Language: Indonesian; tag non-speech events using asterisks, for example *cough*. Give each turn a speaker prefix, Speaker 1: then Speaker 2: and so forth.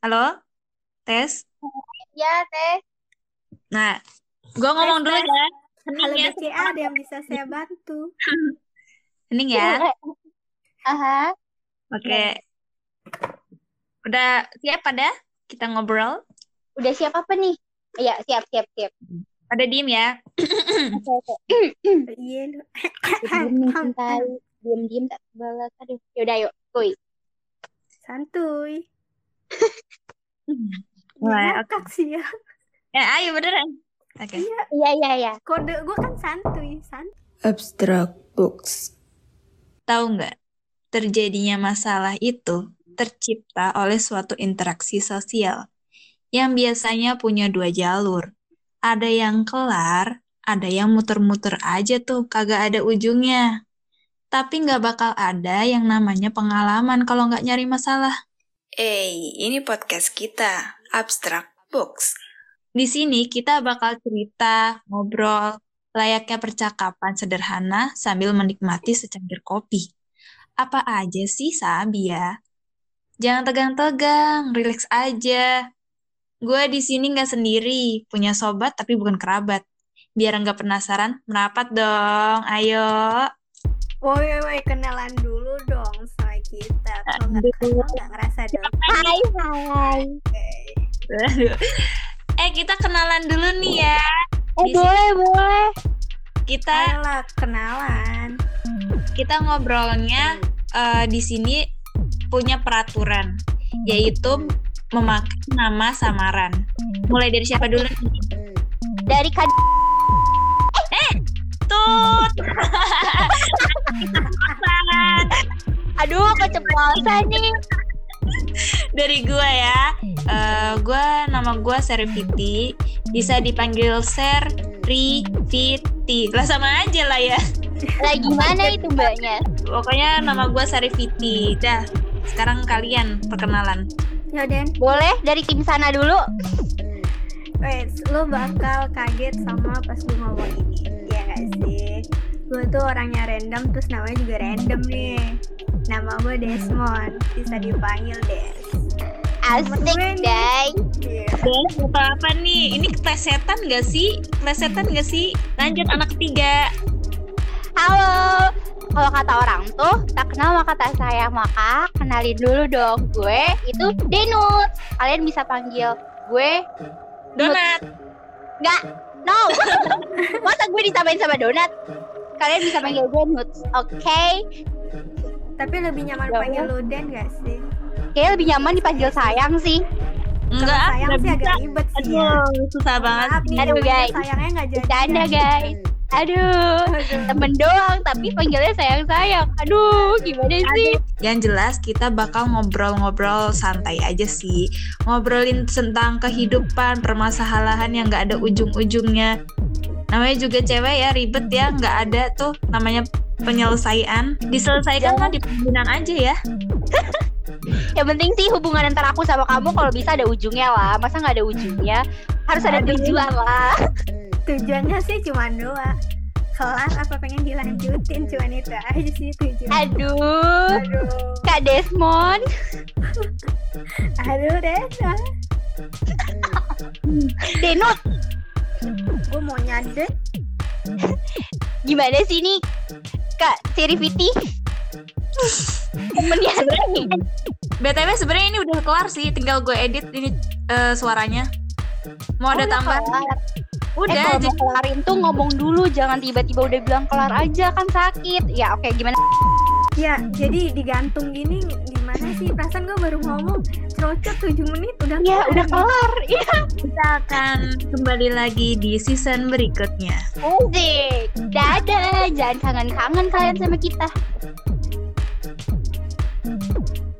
Speaker 1: Halo, Tes.
Speaker 2: Ya, Teh.
Speaker 1: Nah, gua
Speaker 3: Tes,
Speaker 1: ngomong dulu
Speaker 3: tes.
Speaker 1: ya. Hening
Speaker 3: Halo
Speaker 1: ya,
Speaker 3: BCA, ada yang bisa saya bantu?
Speaker 1: hening
Speaker 3: Iya,
Speaker 1: ya.
Speaker 2: eh. Aha,
Speaker 1: Oke,
Speaker 2: benar.
Speaker 1: udah siap pada kita ngobrol?
Speaker 2: Udah siap apa nih? Iya, siap, siap, siap.
Speaker 1: Pada diem ya.
Speaker 2: Oke, oke.
Speaker 3: Iya, lu. *laughs*
Speaker 2: Diam mencintai, diam-diam tak balas. Aduh, yaudah yuk, kuy.
Speaker 3: Santuy. Iya. Nggak
Speaker 1: Mulai, oke.
Speaker 3: ngakak sih ya.
Speaker 1: Eh, ayo beneran. Oke.
Speaker 3: Iya,
Speaker 2: Iya, iya, iya.
Speaker 3: kode gue kan santuy. Santuy.
Speaker 4: Abstract books.
Speaker 1: Tahu nggak, terjadinya masalah itu tercipta oleh suatu interaksi sosial yang biasanya punya dua jalur. Ada yang kelar, ada yang muter-muter aja tuh, kagak ada ujungnya. Tapi nggak bakal ada yang namanya pengalaman kalau nggak nyari masalah.
Speaker 4: Eh, ini podcast kita, Abstract Books.
Speaker 1: Di sini kita bakal cerita, ngobrol, layaknya percakapan sederhana sambil menikmati secangkir kopi. Apa aja sih, Sabi ya? Jangan tegang-tegang, relax aja. Gue di sini nggak sendiri, punya sobat tapi bukan kerabat. Biar nggak penasaran, merapat dong. Ayo.
Speaker 3: Woi, woi, woi, kenalan dulu dong sama kita. Kalau nggak
Speaker 1: Aduh.
Speaker 3: kenal, nggak ngerasa dong.
Speaker 2: Hai, hai.
Speaker 1: Aduh. Eh, kita kenalan dulu nih ya.
Speaker 2: Eh,
Speaker 1: Di sini
Speaker 2: boleh, boleh.
Speaker 1: kita
Speaker 3: Ayolah, kenalan.
Speaker 1: kita ngobrolnya eh, di sini punya peraturan yaitu memakai nama samaran. Mulai dari siapa dulu nih?
Speaker 2: Dari Kak...
Speaker 1: Tut.
Speaker 2: Aduh, keceplosan nih.
Speaker 1: Dari gua ya. Eh, gua nama gua Serviti, bisa dipanggil Ser Riviti. Lah sama aja lah ya.
Speaker 2: Lah, gimana itu mbaknya?
Speaker 1: Pokoknya nama gua Sarifiti. Dah. Sekarang kalian perkenalan.
Speaker 3: Ya, Den.
Speaker 2: Boleh dari tim sana dulu?
Speaker 3: Wait, lu bakal kaget sama pas gue ngomong ini. Iya gak sih? Gue tuh orangnya random, terus namanya juga random nih. Nama gue Desmond. Bisa dipanggil Des. Temen
Speaker 2: Asik,
Speaker 3: gue nih.
Speaker 2: day.
Speaker 3: Iya.
Speaker 1: Guys, apa apa nih? Ini keplesetan gak sih? Keplesetan gak sih? Lanjut anak ketiga.
Speaker 2: Halo. Kalau kata orang tuh, tak kenal maka tak sayang. Maka kenalin dulu dong gue, itu Denut. Kalian bisa panggil gue Nut.
Speaker 1: Donat.
Speaker 2: Nggak, no. Masa gue ditambahin sama donat? Kalian bisa panggil gue Nut. Oke,
Speaker 3: Tapi lebih nyaman
Speaker 2: Ya
Speaker 3: panggil
Speaker 2: Allah.
Speaker 3: lu Den gak sih?
Speaker 2: Kayaknya lebih nyaman dipanggil sayang sih.
Speaker 3: Kalau
Speaker 1: Enggak, ah,
Speaker 3: sayang
Speaker 1: nggak
Speaker 3: sih
Speaker 1: bisa.
Speaker 3: agak ribet sih ya.
Speaker 1: Aduh, susah banget.
Speaker 3: Maaf nih,
Speaker 2: Aduh,
Speaker 3: namanya
Speaker 2: guys.
Speaker 3: sayangnya nggak
Speaker 2: Bercanda
Speaker 3: jadian.
Speaker 2: guys. Aduh,
Speaker 3: Aduh.
Speaker 2: temen doang tapi panggilnya sayang-sayang. Aduh, gimana sih?
Speaker 1: Yang jelas kita bakal ngobrol-ngobrol santai aja sih. Ngobrolin tentang kehidupan, permasalahan yang nggak ada ujung-ujungnya. Namanya juga cewek ya, ribet ya, nggak ada tuh namanya penyelesaian. Diselesaikan mah di pimpinan aja ya.
Speaker 2: Yang penting sih hubungan antara aku sama kamu kalau bisa ada ujungnya lah. Masa nggak ada ujungnya? Harus ada
Speaker 1: Aduh.
Speaker 2: tujuan lah. *laughs*
Speaker 3: Tujuannya sih cuma dua. Kelar apa pengen dilanjutin cuman itu aja sih tujuan.
Speaker 2: Aduh,
Speaker 3: Aduh.
Speaker 2: Kak Desmond.
Speaker 3: Aduh Den.
Speaker 2: Denut,
Speaker 3: Gue mau nyadar.
Speaker 2: gimana sih nih? Kak Siriviti? Temennya
Speaker 1: Sebenarnya BTW sebenarnya ini udah kelar sih, tinggal gue edit ini eh, suaranya. Mau ada
Speaker 2: Oh, udah
Speaker 1: tambahan?
Speaker 2: kelar. Eh
Speaker 1: Udah,
Speaker 2: kalau mau
Speaker 1: jadi
Speaker 2: kelarin tuh ngomong dulu, jangan tiba-tiba udah bilang kelar aja kan sakit. Ya oke gimana?
Speaker 3: Ya, jadi digantung gini gimana sih? Perasaan gue baru ngomong cerocot 7 menit udah
Speaker 2: Ya
Speaker 3: kelar.
Speaker 2: udah kelar. Iya.
Speaker 1: kita akan kembali lagi di season berikutnya.
Speaker 2: Asik. Dadah, jangan kangen-kangen kalian sama kita.